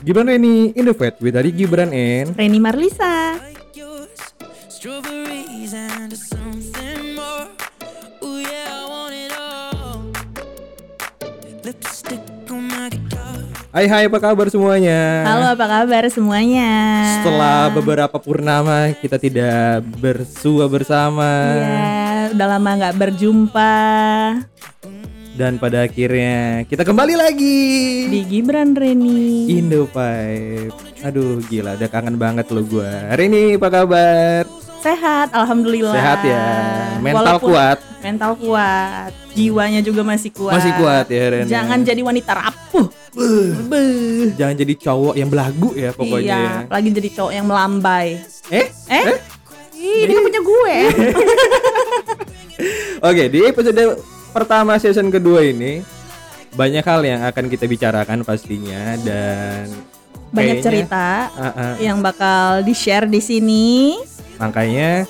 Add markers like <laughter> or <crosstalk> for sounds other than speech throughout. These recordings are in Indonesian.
Gibran Reni, Indovet with Adi Gibran and Reni Marlisa. Eh. like yours. Strawberries and something more. Ooh, yeah, I want it all. Lipstick on my guitar. Hai hai apa kabar semuanya? Halo, apa kabar semuanya? Setelah beberapa purnama kita tidak bersua bersama Iya, udah lama nggak berjumpa dan pada akhirnya kita kembali lagi di Gibran Reni. Indo Vibe. Aduh gila, udah kangen banget lo gua. Reni apa kabar? Sehat, alhamdulillah. Sehat ya. Mental Walaupun- kuat. Mental kuat. Jiwanya juga masih kuat. Masih kuat ya Reni. Jangan jadi wanita rapuh. Beuh. Jangan jadi cowok yang belagu ya pokoknya. iya, ya. lagi jadi cowok yang melambai. Eh? Eh? Ih, dia punya gue. Oke, di episode pertama season kedua ini banyak hal yang akan kita bicarakan pastinya dan <laughs> Iya, kayaknya- Banyak cerita Iya. Ah, ah. yang bakal di-share di sini. Makanya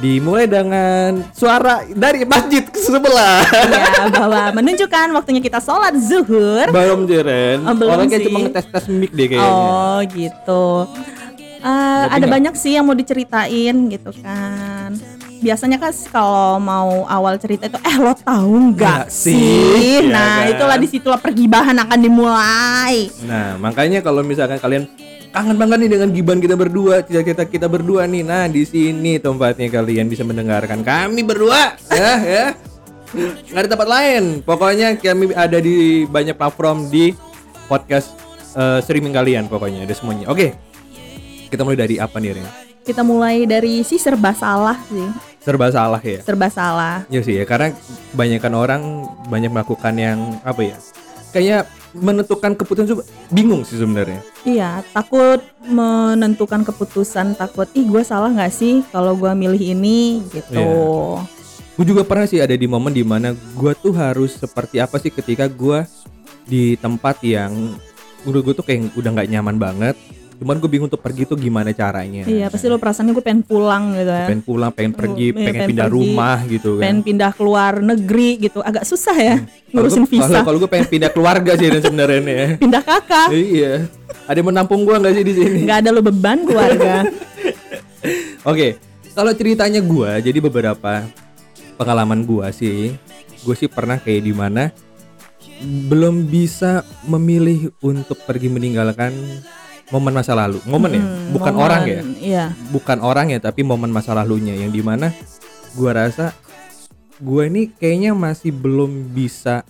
dimulai dengan suara dari masjid ke sebelah. ya bahwa menunjukkan waktunya kita sholat zuhur belum Jeren. Oh, belum Orang kayak sih. cuma ngetes-tes mic deh kayaknya. oh gitu Eh, ada nggak- banyak sih yang mau diceritain gitu kan biasanya kan kalau mau awal cerita itu eh lo Nggak tahu nggak sih? Ya sih, nah kan? itulah disitulah pergibahan akan dimulai Nah, makanya kalau misalkan kalian kangen banget nih dengan giban kita berdua, cerita kita kita berdua nih. Nah, di sini tempatnya kalian bisa mendengarkan kami berdua, ya ya. Nggak ada tempat lain. Pokoknya kami ada di banyak platform di podcast eh, streaming kalian pokoknya ada semuanya. Oke. Kita mulai dari apa nih, Ren? kita mulai dari si serba salah sih Serba salah ya. serba salah Ya sih ya, karena kebanyakan orang banyak melakukan yang apa ya? Kayaknya menentukan keputusan juga bingung sih sebenarnya. iya takut menentukan keputusan takut ih gue salah nggak sih kalau gue milih ini gitu Gue juga pernah sih ada di momen dimana gue tuh harus seperti apa sih ketika gue di tempat yang udah gue tuh kayak udah nggak nyaman banget. Cuman gue bingung untuk pergi tuh gimana caranya. Iya pasti lo perasaannya gue pengen pulang gitu ya Pengen pulang, pengen pergi, Iya, pengen, pengen pindah pergi. rumah gitu kan. Hmm. Pengen pindah keluar negeri gitu Agak susah ya Kalau ngurusin gua- visa Kalau, kalau gue pengen pindah keluarga sih dan sebenarnya nih ya. <laughs> Pindah kakak Iya. Ada yang menampung gue nggak sih di sini? nggak ada lo beban keluarga Oke, kalau ceritanya gua, jadi beberapa pengalaman gua sih, gue sih pernah kayak di mana belum bisa memilih untuk pergi meninggalkan momen masa lalu, momen ya, Hmm, bukan momen, orang ya, Iya bukan orang ya, tapi momen masa lalunya yang di mana gua rasa gua ini kayaknya masih belum bisa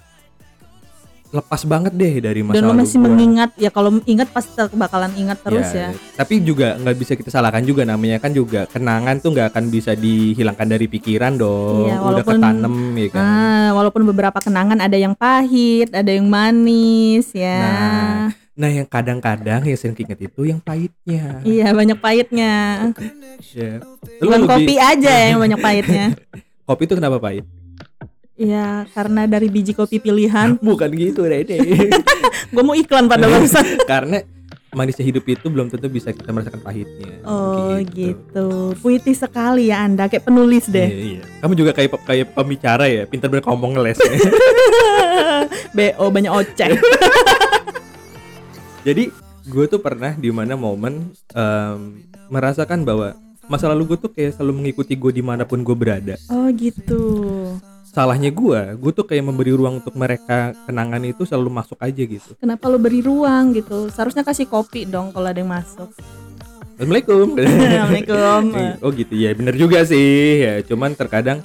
lepas banget deh dari masa Dan lo lalu masih gua. mengingat Ya kalau ingat pasti bakalan ingat Iya, terus ya, Tapi juga nggak bisa kita salahkan juga namanya kan juga kenangan tuh nggak akan bisa dihilangkan dari pikiran dong. Iya, Udah walaupun- ketanem ya kan. Ah, Walaupun beberapa kenangan ada yang pahit Ada yang manis ya Nah, Nah, yang kadang-kadang yang sering keinget itu yang pahitnya. Iya banyak pahitnya Ya. Lu Cuman kopi lebih- aja yang banyak <laughs> pahitnya Kopi itu kenapa <laughs> pahit? Iya karena dari biji kopi pilihan Bukan gitu, Rene. Gue mau iklan pada barusan <laughs> Karena manisnya hidup itu belum tentu bisa kita merasakan pahitnya. Oh gitu. Puitis sekali ya Anda kayak penulis deh. Iya, iya. Kamu juga kayak pe- kayak pembicara ya, pintar banget ngomong ngeles. ya. <laughs> BO oh, banyak oceh. Jadi gue tuh pernah di mana momen em, merasakan bahwa masa lalu gue tuh kayak selalu mengikuti gue dimanapun gue berada. oh gitu. Salahnya gue, gue tuh kayak memberi ruang untuk mereka kenangan itu selalu masuk aja gitu. Kenapa lo beri ruang gitu? Seharusnya kasih kopi dong kalau ada yang masuk. Iya. Assalamualaikum. <laughs> Assalamualaikum. oh gitu ya, bener juga sih. Ya, cuman terkadang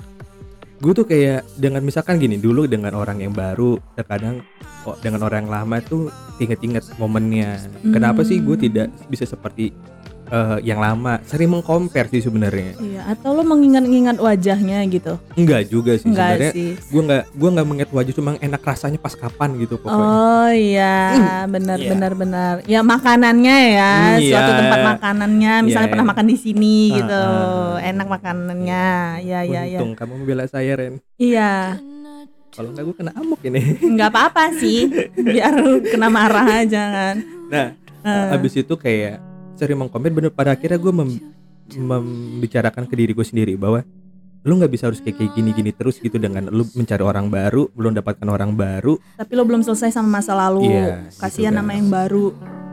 gue tuh kayak dengan misalkan gini dulu dengan orang yang baru, terkadang kok dengan orang yang lama tuh inget-inget momennya. Kenapa sih gue tidak bisa seperti eh, yang lama? Sering mengkompar sih sebenarnya. Iya, atau lo mengingat-ingat wajahnya gitu? Enggak juga sih Enggak Iya, sebenarnya. sih. Gue nggak gue nggak mengingat wajah cuma enak rasanya pas kapan gitu pokoknya. Oh iya, benar Iya. benar benar. Ya makanannya ya, Iya. suatu tempat makanannya, misalnya Iya. pernah makan di sini Ah, gitu. ah. Enak makanannya. Ya ya ya. Untung kamu membela saya Ren. Iya. Kalau nggak gue kena amuk ini. <laughs> nggak apa-apa sih biar kena marah aja kan Nah, habis itu kayak sering mengkomen bener pada akhirnya gue membicarakan ke diri gue sendiri bahwa lu nggak bisa harus kayak kayak gini-gini terus gitu dengan lu mencari orang baru, belum dapatkan orang baru. tapi lo belum selesai sama masa lalu Iya, kasihan gitu kan. nama yang baru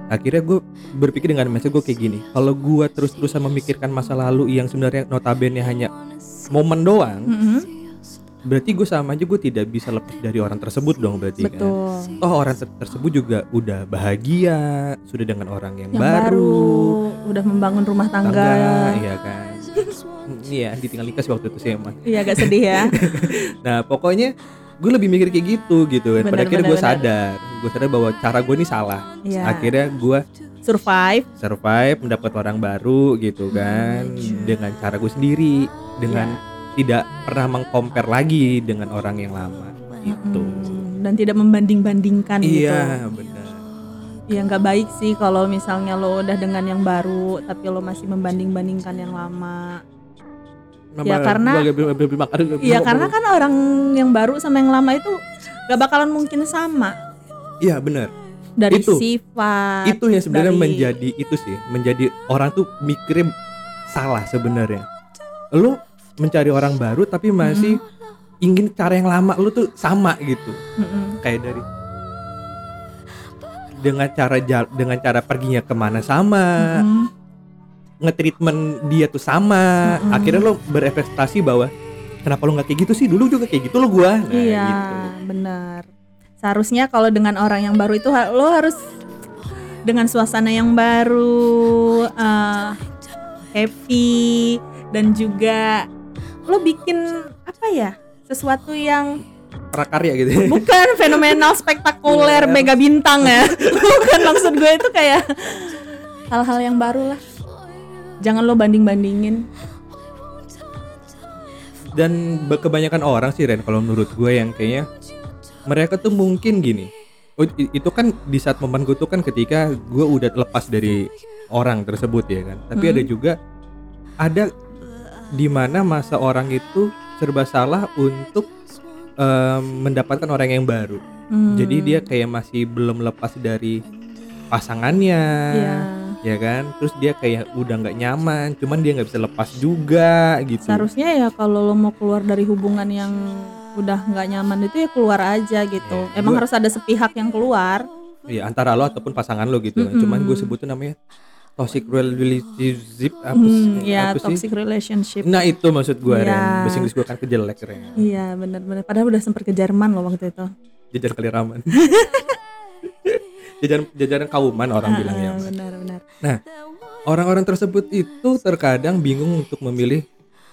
akhirnya gue berpikir dengan mindset gue kayak gini kalau gue terus-terusan memikirkan masa lalu yang sebenarnya notabene hanya momen doang Mhm. berarti gue sama aja gue tidak bisa lepas dari orang tersebut dong berarti kan betul toh orang ter- tersebut juga udah bahagia sudah dengan orang yang, yang baru baru, udah membangun rumah tangga tangga iya kan Mm, iya ditinggal nikah sih waktu itu sih emang iya agak sedih <laughs> ya nah pokoknya gue lebih mikir kayak gitu gitu kan pada Benar, akhirnya benar, gue benar. sadar gue sadar bahwa cara gue ini salah Iya. akhirnya gue survive survive mendapat orang baru gitu kan dengan cara gue sendiri dengan Iya. tidak pernah mengcompare lagi dengan orang yang lama gitu Hmm, dan tidak membanding bandingkan gitu iya benar ya nggak baik sih kalau misalnya lo udah dengan yang baru tapi lo masih membanding bandingkan yang lama Ya, karena- Iya karena kan orang yang baru sama yang lama itu gak bakalan mungkin sama iya benar dari Itu. sifat. itu yang sebenarnya Nah, dari- menjadi itu sih menjadi orang tuh mikirnya salah sebenarnya lu mencari orang baru tapi masih Hmm. ingin cara yang lama lu tuh sama gitu Mm-mm. kayak dari dengan cara jal- dengan cara perginya kemana sama Mm-mm. ngetreatment dia tuh sama Mm-mm. akhirnya lo berefekstasi bahwa kenapa lo nggak kayak gitu sih dulu juga kayak gitu lo gua Nah, Iya gitu. benar. Seharusnya kalau dengan orang yang baru itu ha- lo harus dengan suasana yang baru, eh, happy dan juga lo bikin apa ya sesuatu yang prakarya gitu <laughs> bukan fenomenal Iya. spektakuler mega bintang ya bukan maksud gue itu kayak hal-hal yang baru lah jangan lo banding bandingin dan be- kebanyakan orang sih Ren kalau menurut gue yang kayaknya mereka tuh mungkin gini oh, i- itu kan di saat momen gue tuh kan ketika gue udah lepas dari orang tersebut ya kan tapi Hmm. ada juga ada di mana masa orang itu serba salah untuk em, mendapatkan orang yang baru Hmm, jadi dia kayak masih belum lepas dari pasangannya Iya. ya kan terus dia kayak udah nggak nyaman cuman dia nggak bisa lepas juga gitu seharusnya ya kalau lo mau keluar dari hubungan yang udah nggak nyaman itu ya keluar aja gitu Iya, emang gue- harus ada sepihak yang keluar Iya antara lo Hmm. ataupun pasangan lo gitu kan. Cuman gue sebutin namanya toxic relationship apa sih? Hmm, ya apa Iya, sih? toxic relationship Nah itu maksud gue Iya. Ren. Bahasa Inggris gue kan kejelek <laughs> Ren. iya benar-benar padahal udah sempat ke Jerman loh waktu itu Jajan keliraman. jajan jajanan kauman orang bilangnya. Ah, benar-benar Nah orang-orang tersebut itu terkadang bingung untuk memilih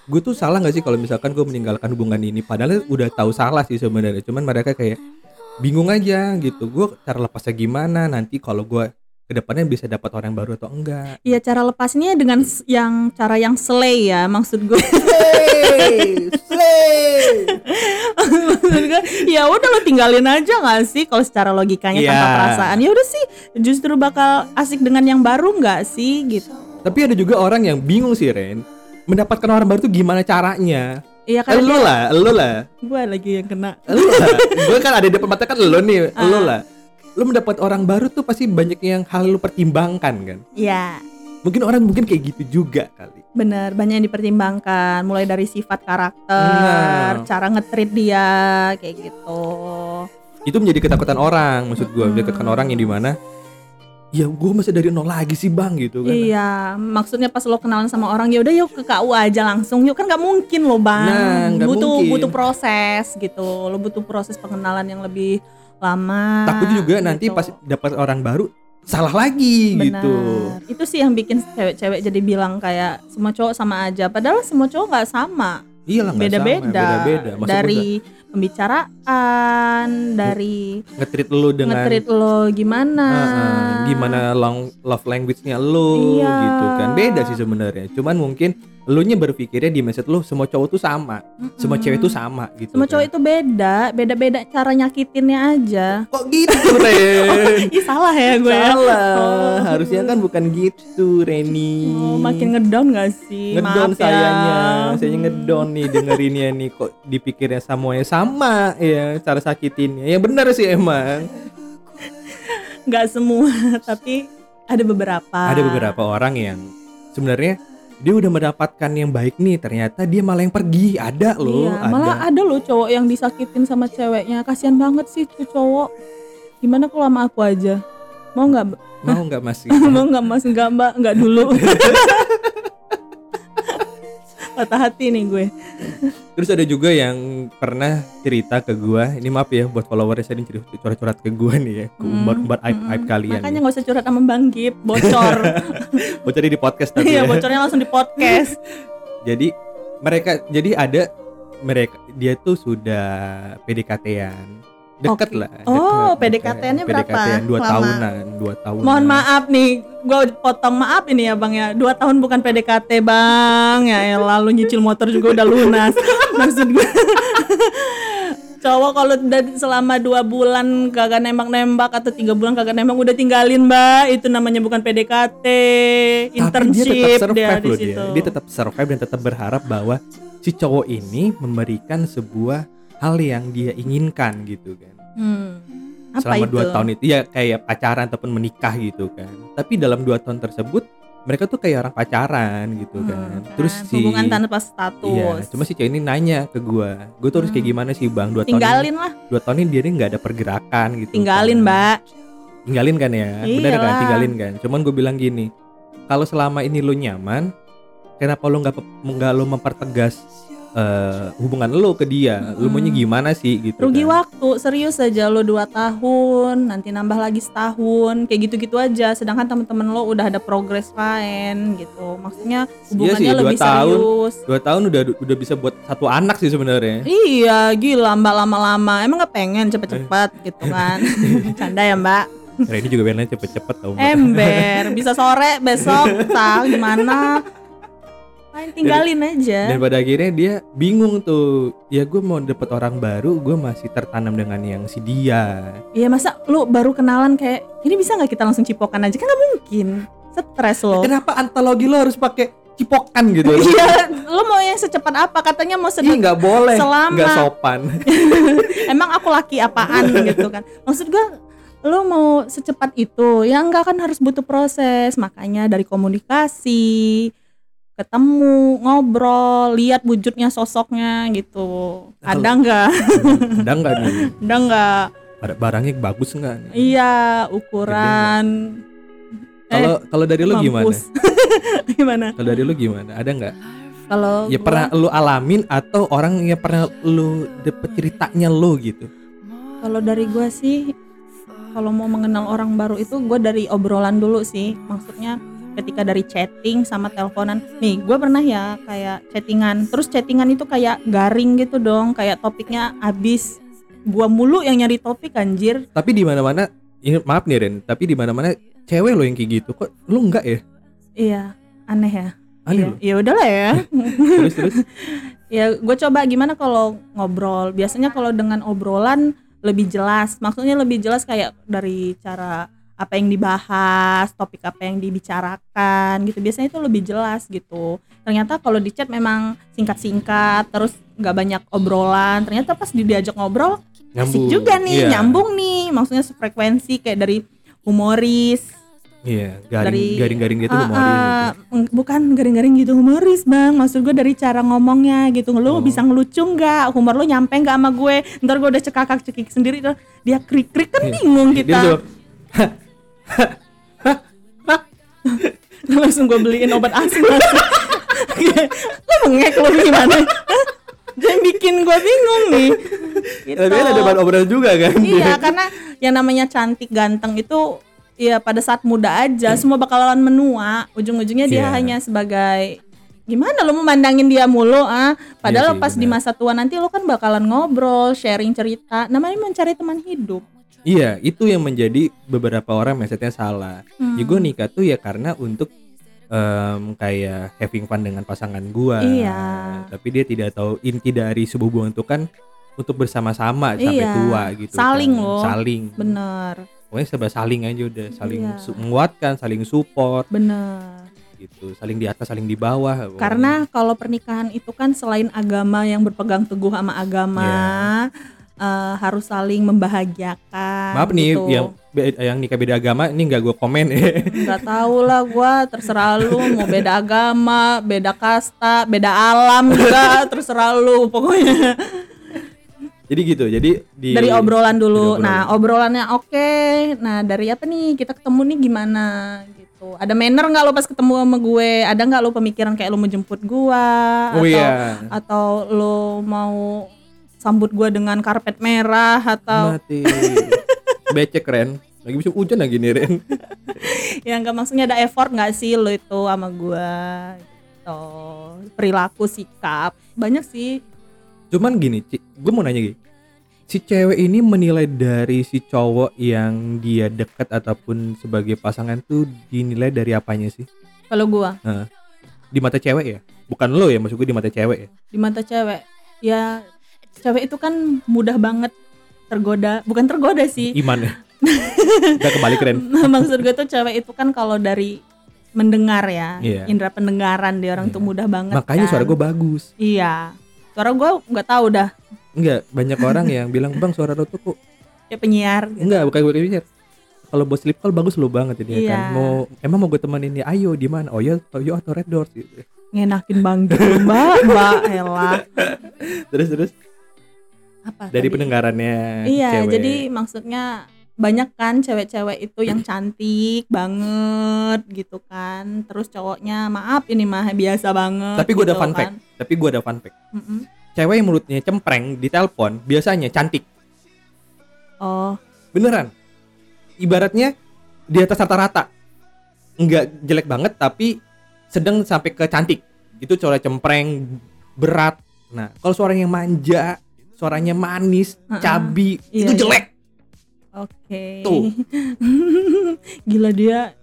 gue tuh salah nggak sih kalau misalkan gue meninggalkan hubungan ini padahal udah tahu salah sih sebenarnya cuman mereka kayak bingung aja gitu gue cara lepasnya gimana nanti kalau gue kedepannya bisa dapat orang baru atau enggak Iya cara lepasnya dengan s- yang cara yang slay ya maksud gue. <laughs> Maksud gue, ya udah lo tinggalin aja gak sih kalau secara logikanya tanpa Iya. perasaan. Ya udah sih justru bakal asik dengan yang baru nggak sih gitu. Tapi ada juga orang yang bingung sih Ren Mendapatkan orang baru tuh gimana caranya Iya kan Elu lah, elu lah, gue lagi yang kena. elu lah <laughs> Gue kan ada di depan mata kan elu nih, Ah. elu lah Lu mendapat orang baru tuh pasti banyak yang hal lu pertimbangkan kan Iya Mungkin orang mungkin kayak gitu juga kali bener banyak yang dipertimbangkan mulai dari sifat karakter, Benar. cara ngetrit dia kayak gitu. Itu menjadi ketakutan orang maksud Hmm. gue Menjadi ketakutan orang yang dimana Ya gue masih dari nol lagi sih bang gitu kan Iya, maksudnya pas lo kenalan sama orang ya udah yuk ke KU aja langsung. Yuk kan nggak mungkin lo bang, Nah, nggak butuh mungkin. butuh proses gitu. Lo butuh proses pengenalan yang lebih lama. Takutnya juga nanti gitu. pas dapat orang baru Salah lagi Benar. gitu Itu sih yang bikin cewek-cewek jadi bilang kayak semua cowok sama aja. Padahal semua cowok nggak sama, Iya lah nggak sama, beda-beda. Beda-beda Maksud gue Dari pembicaraan, dari nge-treat lu dengan ngetrit lo gimana, Heeh, gimana long love language-nya lu Iya. gitu kan beda sih sebenarnya cuman mungkin lu nya berpikirnya di mindset lu semua cowok tuh sama semua cewek tuh sama gitu Semua cowok kan. itu beda, beda-beda cara nyakitinnya aja. kok gitu <laughs> Ren Ih salah ya gue ya? salah Oh. <laughs> harusnya kan bukan gitu Reni Oh, makin ngedown gak sih? ngedown Maaf ya. sayanya saya ngedown nih dengerinnya nih kok dipikirnya semuanya sama ya cara sakitinnya ya benar sih emang Nggak semua, <laughs> tapi ada beberapa. ada beberapa orang yang sebenarnya dia udah mendapatkan yang baik nih ternyata dia malah yang pergi ada loh Iya, ada <laughs> malah ada loh cowok yang disakitin sama ceweknya. Kasihan banget sih tuh cowok. Gimana kalau sama aku aja? mau nggak <laughs> Mbak? mau nggak mas mau nggak mas nggak mbak nggak <laughs> dulu patah hati nih gue terus ada juga yang pernah cerita ke gua ini maaf ya buat followersnya saya ini cerita- curhat-curhat ke gua nih ya ke umbar-umbar aib aib kalian Hmm, makanya nggak usah curhat sama bang Gip <laughs> bocor mau cari di podcast tapi iya ya. bocornya langsung di podcast jadi mereka jadi ada mereka dia tuh sudah PDKT-an deket Oke. lah Oh, deket. PDKT-annya berapa PDKT-an dua lama? tahunan dua tahunan Mohon maaf nih, gue potong maaf ini ya bang ya Dua tahun bukan PDKT bang Ya lalu nyicil motor juga udah lunas <laughs> Maksud gue Cowok kalau udah selama dua bulan kagak nembak-nembak Atau tiga bulan kagak nembak udah tinggalin mbak Itu namanya bukan Tapi PDKT dia tetap Internship dia survive di loh dia. situ Dia tetap survive dan tetap berharap bahwa si cowok ini memberikan sebuah hal yang dia inginkan gitu kan. Hmm. Apa Selama itu? dua tahun itu ya kayak pacaran ataupun menikah gitu kan. Tapi dalam dua tahun tersebut mereka tuh kayak orang pacaran gitu Hmm, kan. Terus si Hubungan tanpa status Iya, cuma si cewek ini nanya ke gua, gua tuh harus kayak gimana sih bang? Dua tahun, Hmm. Tinggalin lah, ini- dua tahun ini dia ini nggak ada pergerakan gitu. tinggalin mbak Tinggalin kan ya, bener kan? Iyalah. Tinggalin kan. Cuman gue bilang gini, kalau selama ini lo nyaman, kenapa lo nggak pe- nggak lo mempertegas eh, hubungan lo ke dia? Lo maunya gimana sih gitu? Rugi kan? waktu, serius aja lo 2 tahun, nanti nambah lagi setahun, kayak gitu-gitu aja. Sedangkan temen-temen lo udah ada progres lain gitu. Maksudnya hubungannya Iya sih, dua lebih tahun. serius. Dua tahun udah udah bisa buat satu anak sih <laughs> sebenarnya. Iya, gila mbak lama-lama. Emang gak pengen cepet-cepet Eh. gitu kan? <laughs> Canda ya mbak. Karena Nah, ini juga biarnya cepet-cepet tau. Eh. Mbak. Ember, bisa sore besok, tak gimana? Main tinggalin aja. Dan pada akhirnya dia bingung tuh, ya gue mau dapet orang baru, gue masih tertanam dengan yang si dia. Iya masa lo baru kenalan kayak ini bisa nggak kita langsung cipokan aja? Kan nggak mungkin. Stres lo. Kenapa antologi lo harus pakai cipokan gitu? <laughs> Iya, lo mau yang secepat apa? Katanya mau Ih, sedang. nggak boleh, Selama- nggak sopan. Emang aku laki apaan gitu kan? Maksud gue, lo mau secepat itu? Ya enggak kan harus butuh proses. Makanya dari komunikasi, ketemu, ngobrol, lihat wujudnya, sosoknya gitu. Nah, Ada nggak? Ada nggak nih? Ada nggak? Ada barangnya bagus nggak nih? Iya, ukuran. Kalau kalau dari lo gimana? mampus. <laughs> gimana? Kalau dari lo gimana? Ada nggak? Kalau Ya gua- pernah lo alamin atau orang yang pernah lo dapet ceritanya lo gitu? Kalau dari gue sih, kalau mau mengenal orang baru itu gue dari obrolan dulu sih. Maksudnya ketika dari chatting sama teleponan. Nih gue pernah ya kayak chattingan. Terus chattingan itu kayak garing gitu dong. Kayak topiknya abis. Gua mulu yang nyari topik anjir. Tapi di mana mana, ini maaf nih Ren, tapi di mana mana cewek lo yang kayak gitu kok lo nggak ya? Iya aneh ya. Aneh Iya, ya udahlah ya. lo. Terus <laughs> terus. ya gue coba gimana kalau ngobrol biasanya kalau dengan obrolan lebih jelas maksudnya lebih jelas kayak dari cara apa yang dibahas topik apa yang dibicarakan gitu biasanya itu lebih jelas gitu ternyata kalau di chat memang singkat-singkat terus nggak banyak obrolan ternyata pas di- diajak ngobrol asik juga nih Iya. nyambung nih maksudnya sefrekuensi kayak dari humoris Iya, garing, garing-garing gitu Ah, lo mau ah, mm, bukan garing-garing gitu humoris bang maksud gue dari cara ngomongnya gitu lo Oh. bisa ngelucu nggak humor lo nyampe nggak sama gue ntar gue udah cekakak cekik sendiri ntar dia krik krik kan Iya. bingung Dia kita <laughs> jawab, langsung gue beliin obat asli <laughs> lo mengek lo gimana Hah? Dia bikin gue bingung nih gitu. Tapi kan ada bahan obrolan juga kan? Iya, karena yang namanya cantik ganteng itu ya pada saat muda aja semua bakalan menua. Ujung-ujungnya dia Iya. hanya sebagai gimana lo memandangin dia mulu ah Iya padahal sih, pas di benar. masa tua nanti lo kan bakalan ngobrol sharing cerita namanya mencari teman hidup Iya, itu yang menjadi beberapa orang mindsetnya salah. Hmm. Ya gue nikah tuh ya karena untuk em, kayak having fun dengan pasangan gua. Iya. Tapi dia tidak tahu inti dari sebuah hubungan itu kan untuk bersama-sama sampai Iya, tua gitu. saling kan. loh. Saling. bener Pokoknya serba saling aja udah, saling Iya. su- menguatkan, saling support bener gitu. Saling di atas, saling di bawah. pokoknya. Karena kalau pernikahan itu kan selain agama yang berpegang teguh sama agama, eh, harus saling membahagiakan. Iya. Maaf nih gitu. yang be- yang nikah beda agama ini nggak gue komen <laughs> ya. nggak tahu lah gue terserah lu mau beda agama, <laughs> beda kasta, beda alam juga terserah lu pokoknya. Jadi gitu. Jadi di dari obrolan dulu. Dari obrolan. Nah, obrolannya oke. Nah, dari apa nih? Kita ketemu nih gimana gitu. Ada manner nggak lo pas ketemu sama gue? Ada nggak lo pemikiran kayak lo mau jemput gua Oh atau iya. atau lo mau sambut gua dengan karpet merah atau mati. Becek Ren. Lagi bisa hujan lagi nih Ren. Nah. yang ya nggak maksudnya ada effort nggak sih lo itu sama gua gitu. Perilaku, sikap, banyak sih. Cuman gini, gue mau nanya gini. Si cewek ini menilai dari si cowok yang dia dekat ataupun sebagai pasangan tuh dinilai dari apanya sih? Kalau gua Nah, di mata cewek ya? Bukan lo ya, maksud gue di mata cewek ya? di mata cewek, ya cewek itu kan mudah banget tergoda, bukan tergoda sih. Iman ya? Udah kembali keren. <laughs> maksud gue tuh cewek itu kan kalau dari mendengar ya Iya. indera pendengaran dia orang Iya. tuh mudah banget Makanya kan. suara gue bagus. iya suara gue nggak tahu dah Enggak, banyak orang yang bilang, "Bang, suara lo tuh kok ya penyiar enggak bukan gue pikir. Kalau buat sleep call bagus lo banget ini Iya. kan. Mau emang mau gue temenin ya, ayo di mana? Oh ya, Toyo atau Red Doors gitu. ngenakin banget mbak mbak elah Terus terus apa dari tadi? pendengarannya iya Nah, cewek. jadi maksudnya banyak kan cewek-cewek itu <clears throat> yang cantik banget gitu kan terus cowoknya maaf ini mah biasa banget Tapi gue ada gitu fun fact. kan. Tapi gue ada fun fact. Mm-mm. Cewek yang mulutnya cempreng di telepon biasanya cantik. oh Beneran. Ibaratnya di atas rata-rata. Enggak jelek banget tapi sedang sampai ke cantik. Itu suara cempreng berat. Nah, kalau suaranya manja, suaranya manis, Heeh. cabi, Iya, itu iya. jelek. Oke. Tuh. <laughs> Gila dia.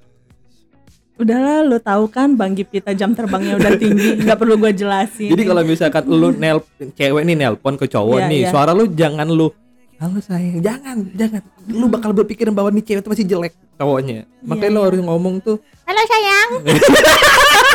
Udahlah lo tahu kan Bang Gipita jam terbangnya udah <laughs> tinggi, nggak perlu gua jelasin. Jadi kalau misalkan lu nel cewek nih nelpon ke cowok Hmm. Iya, nih, iya. suara lu jangan lu halo sayang, jangan, jangan. Lu bakal berpikiran bahwa nih cewek itu masih jelek cowoknya. Makanya Iya, lu iya. harus ngomong tuh halo sayang, <laughs>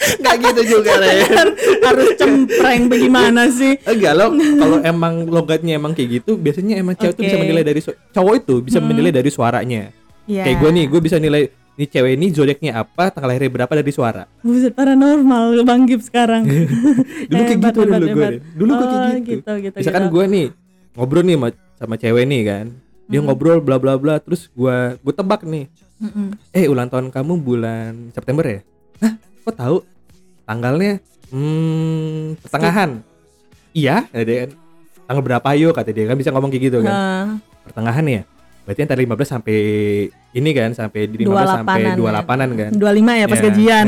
nggak gitu juga Ren <laughs> harus cempreng <laughs> bagaimana sih? enggak lo kalau emang logatnya emang kayak gitu biasanya emang cewek tuh bisa Oke. menilai dari su- cowok itu bisa Hmm. menilai dari suaranya Iya. kayak gue nih gue bisa nilai nih cewek ini zodiaknya apa tanggal lahirnya berapa dari suara Buset paranormal Bang Gip <laughs> sekarang. dulu kayak Hebat, gitu dulu hebat, gue hebat. Ren. dulu gue kayak Oh, gitu, gitu, gitu, misalkan gitu. gue nih ngobrol nih sama, sama cewek nih kan dia Hmm. ngobrol bla bla bla terus gue gue tebak nih Mm-mm. eh ulang tahun kamu bulan September ya Hah kok tahu tanggalnya hmm pertengahan iya kata dia kan tanggal berapa yuk kata dia kan bisa ngomong kayak gitu kan Nah, pertengahan ya berarti antara 15 sampai ini kan sampai di 15 sampai 28-an, 28-an kan 25 ya pas Iya. <laughs> gajian.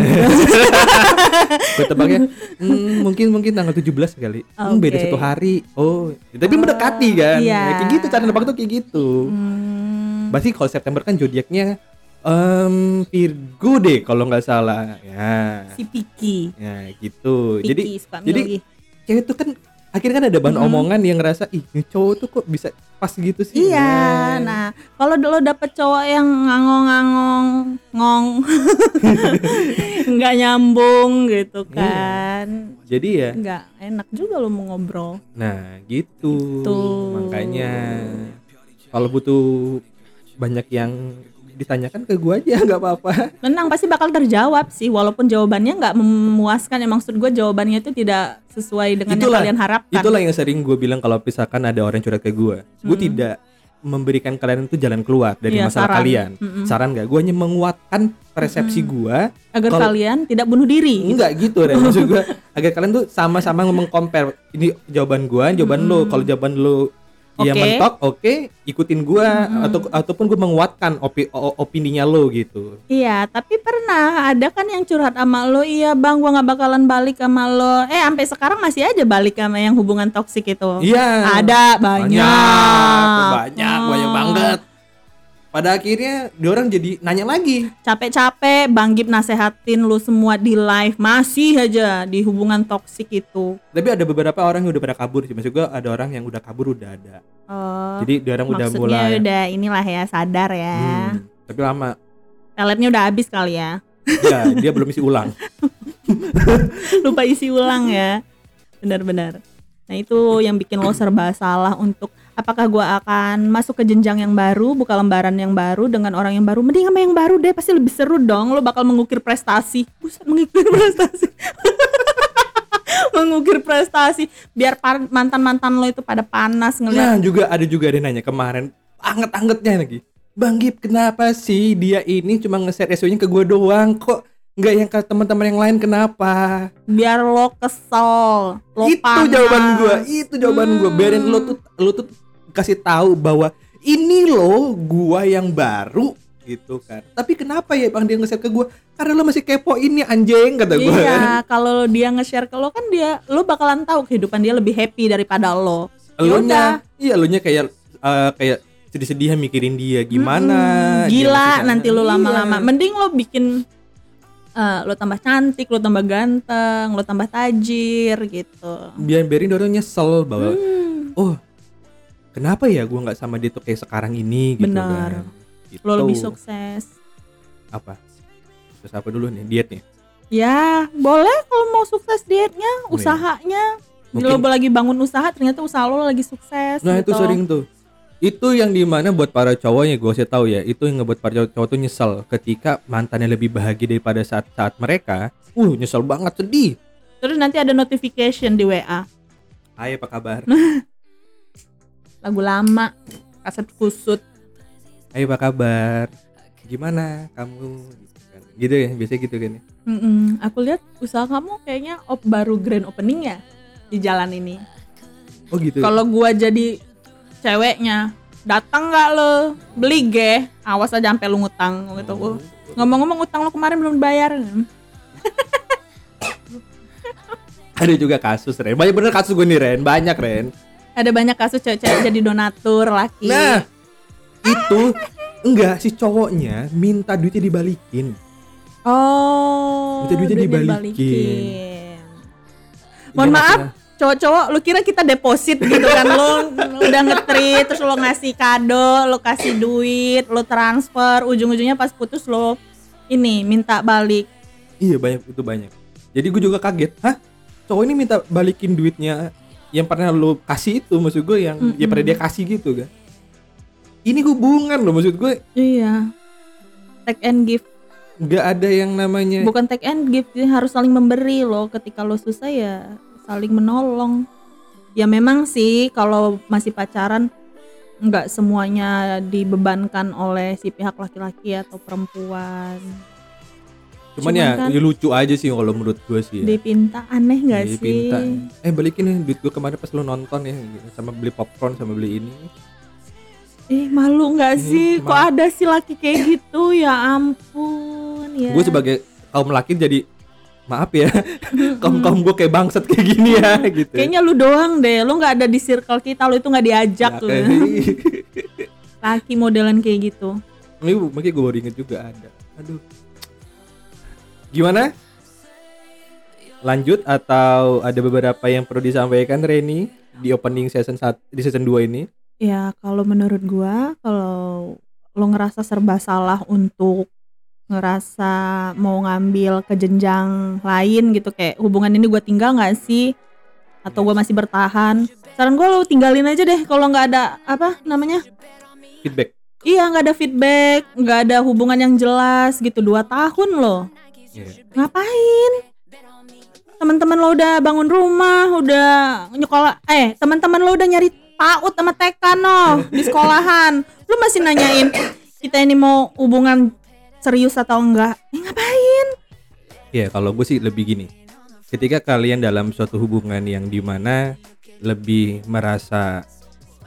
gue tebaknya hmm, mungkin mungkin tanggal 17 kali hmm, beda Oke. satu hari oh tapi Oh, mendekati kan iya. Ya, kayak gitu cara nebak tuh kayak gitu Hmm, berarti kalau September kan zodiaknya em Virgo deh kalau nggak salah ya si Piki. ya gitu Piki jadi suka jadi milih. cewek tuh kan akhirnya kan ada bahan Hmm. omongan yang ngerasa ih ini cowok tuh kok bisa pas gitu sih Iya, Nah, nah kalau lo dapet cowok yang ngangong-ngangong, ngong, <laughs> nggak nyambung Iya. gitu kan, jadi ya nggak enak juga lo mau ngobrol. Nah gitu, Gitu. makanya kalau butuh banyak yang ditanyakan ke gua aja <laughs> nggak apa-apa. Tenang pasti bakal terjawab sih, walaupun jawabannya nggak memuaskan. Ya maksud gue jawabannya itu tidak sesuai dengan Itulah, yang kalian harapkan. Itulah yang sering gue bilang kalau misalkan ada orang curhat ke gua gue tidak memberikan kalian itu jalan keluar dari Hmm. Iya, masalah saran. Hmm, kalian. Mm-mm. Saran nggak? Gue hanya menguatkan persepsi gua Agar kalau- kalian tidak bunuh diri. Enggak gitu Ren Maksud gue Agar kalian tuh sama-sama mengcompare Ini jawaban gua jawaban lo Kalau jawaban lo Iya Hmm. Oke. Hmm. mentok Oke Ikutin gua atau, Ataupun gue menguatkan opi, o- Opininya lo gitu Iya, tapi pernah ada kan yang curhat sama lo, iya bang, gua nggak bakalan balik sama lo. Eh, sampai sekarang masih aja balik sama yang hubungan toksik itu. Iya Oh. Ada banyak. Banyak Banyak, Hmm. banyak banget Pada akhirnya Dia orang jadi nanya lagi Capek-capek Bang Gip nasehatin lu semua di live masih aja di hubungan toksik itu. Tapi ada beberapa orang yang udah pada kabur sih Maksud gue ada orang yang udah kabur udah ada Oh, Jadi dia orang udah maksudnya mulai udah inilah ya sadar ya. Hmm, Tapi lama Peletnya udah habis kali ya. Ya dia belum isi ulang <laughs> Lupa isi ulang ya. Benar-benar. Nah, itu yang bikin lo serba salah untuk apakah gua akan masuk ke jenjang yang baru, buka lembaran yang baru dengan orang yang baru. Mending sama yang baru deh, pasti <laughs> lebih seru dong. Lo bakal mengukir prestasi. Buset, mengukir prestasi. mengukir prestasi biar par- mantan-mantan lo itu pada panas ngeliat Nah juga ada juga ada yang nanya kemarin anget-angetnya lagi. Bang Gip kenapa sih dia ini cuma nge-share SEO-nya ke gue doang kok nggak yang ke teman-teman yang lain kenapa? biar lo kesel lo itu panas. jawaban gue, itu jawaban Hmm. gue. Biarin lo tuh lo tuh kasih tahu bahwa ini lo gua yang baru gitu kan. Tapi kenapa ya Bang dia nge-share ke gua? Karena lo masih kepo ini anjing kata gue. <laughs> Iya, kalau dia nge-share ke lo kan dia lo bakalan tahu kehidupan dia lebih happy daripada lo. Ya udah, elunya iya elunya kayak eh, kayak sedih-sedihan mikirin dia gimana dia Hmm, gila masih- nanti lo Iya. lama-lama. Mending lo bikin eh, lo tambah cantik, lo tambah ganteng, lo tambah tajir gitu. biar biarin dia orang nyesel Hmm. bahwa oh kenapa ya gua nggak sama dia tuh kayak sekarang ini gitu Benar. kan gitu. Lo lebih sukses. apa terus apa dulu nih diet nih Ya, boleh kalau mau sukses dietnya, Oh, iya. usahanya. Mungkin- Lo lagi bangun usaha, ternyata usaha lo lagi sukses. nah itu gitu. sering tuh itu yang dimana buat para cowoknya gue sih tahu ya itu yang ngebuat para cowok, cowok tuh nyesel ketika mantannya lebih bahagia daripada saat saat mereka uh nyesel banget sedih Terus nanti ada notification di WA, Hai apa kabar Nah. lagu lama, kaset kusut. Hai apa kabar gimana kamu gitu, kan. gitu ya biasanya gitu kan ya. Mm-mm. Aku lihat usaha kamu kayaknya op baru grand opening ya di jalan ini. oh gitu ya? Kalau gua jadi ceweknya, datang nggak lo? Beli ge, awas aja sampai lu ngutang gitu. Oh, Ngomong-ngomong utang lo kemarin belum bayar. ada juga kasus Ren banyak bener kasus gue nih Ren banyak Ren Ada banyak kasus cewek-cewek jadi donatur laki. Nah, Iya. itu enggak si cowoknya minta duitnya dibalikin. Oh, Minta duitnya duitnya dibalikin. Mohon Ini maaf, masalah. cowok-cowok, lu kira kita deposit gitu kan? Lu udah ngetrit, terus lu ngasih kado, lu kasih duit, lu transfer, ujung-ujungnya pas putus lu ini minta balik. Iya banyak itu banyak. Jadi gue juga kaget, hah? Cowok ini minta balikin duitnya yang pernah lo kasih itu, maksud gue yang ya pernah dia kasih gitu kan? Ini hubungan loh, maksud gue Iya. Take and give, nggak ada yang namanya. bukan take and give, jadi harus saling memberi loh. Ketika lo susah ya saling menolong. Ya memang sih kalau masih pacaran nggak semuanya dibebankan oleh si pihak laki-laki atau perempuan. Cuman ya cuman kan- ya lucu aja sih kalau menurut gue sih. Ya. Dipinta aneh nggak Jadi sih? pinta, eh balikin nih duit gue kemarin pas lo nonton ya, gitu. sama beli popcorn sama beli ini. Ih malu Ih, nggak sih? Kok malu. ada sih laki kayak gitu? Ya ampun ya. Gue sebagai kaum laki jadi maaf ya, <laughs> kaum kaum gue kayak bangsat kayak gini ya gitu. Kayaknya lu doang deh. Lu nggak ada di circle kita. Lu itu nggak Ya, diajak lu. kayak- Laki modelan kayak gitu. Ini bu- makanya gue baru inget juga ada. Aduh. Gimana? Lanjut atau ada beberapa yang perlu disampaikan Reni di opening season 1 di season 2 ini? Ya kalau menurut gua kalau lu ngerasa serba salah untuk ngerasa mau ngambil ke jenjang lain gitu kayak hubungan ini gua tinggal nggak sih atau gua masih bertahan saran gua lu tinggalin aja deh kalau nggak ada apa namanya Feedback. Iya nggak ada feedback, nggak ada hubungan yang jelas gitu dua tahun loh. Iya. Ngapain? Teman-teman lo udah bangun rumah, udah nyekolah. Eh teman-teman lo udah nyari PAUD sama TK no di sekolahan. Lu masih nanyain kita ini mau hubungan serius atau enggak? Eh, ngapain? Ya, kalau gue sih lebih gini. Ketika kalian dalam suatu hubungan yang dimana lebih merasa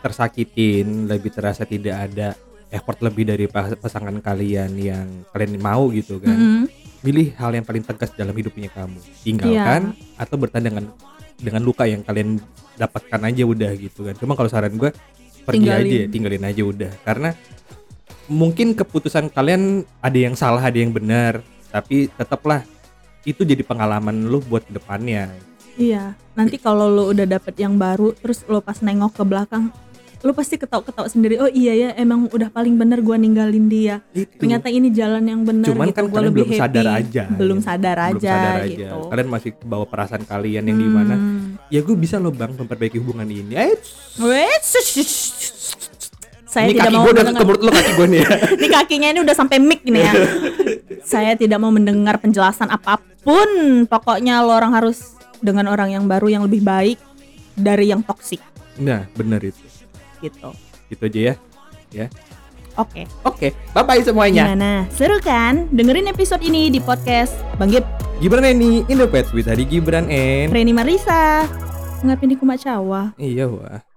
tersakitin, lebih terasa tidak ada effort lebih dari pas- pasangan kalian yang kalian mau gitu kan. Mm-mm. pilih hal yang paling tegas dalam hidupnya kamu tinggalkan Iya. atau bertahan dengan dengan luka yang kalian dapatkan aja udah gitu kan cuma kalau saran gue pergi Tinggalin. aja tinggalin aja udah karena mungkin keputusan kalian ada yang salah ada yang benar tapi tetaplah itu jadi pengalaman lu buat kedepannya Iya. Nanti kalau lo udah dapet yang baru, terus lo pas nengok ke belakang, lo pasti ketawa-ketawa sendiri. Oh iya ya, emang udah paling bener gua ninggalin dia. itu ternyata ini jalan yang benar cuman gitu. kan Gua kalian lebih belum sadar happy. aja belum gitu. sadar aja Belum sadar aja. gitu kalian masih bawa perasaan kalian yang dimana ya gue bisa loh bang memperbaiki hubungan ini eh, Hmm. Wait, shush, shush, shush. saya ini tidak kaki mau gue udah mendengar menurut lo kaki gue nih ya <laughs> ini kakinya ini udah sampai mic nih ya saya tidak mau mendengar penjelasan apapun pokoknya lo orang harus dengan orang yang baru yang lebih baik dari yang toksik Nah, bener itu. gitu. Gitu aja ya. Ya. Oke. Oke, bye-bye semuanya. Gimana? Seru kan? Dengerin episode ini di podcast Bang Gip, Gibran Eni, Indopet with Hadi Gibran and Reni Marisa. Ngapin di Kumacawa. Iya wah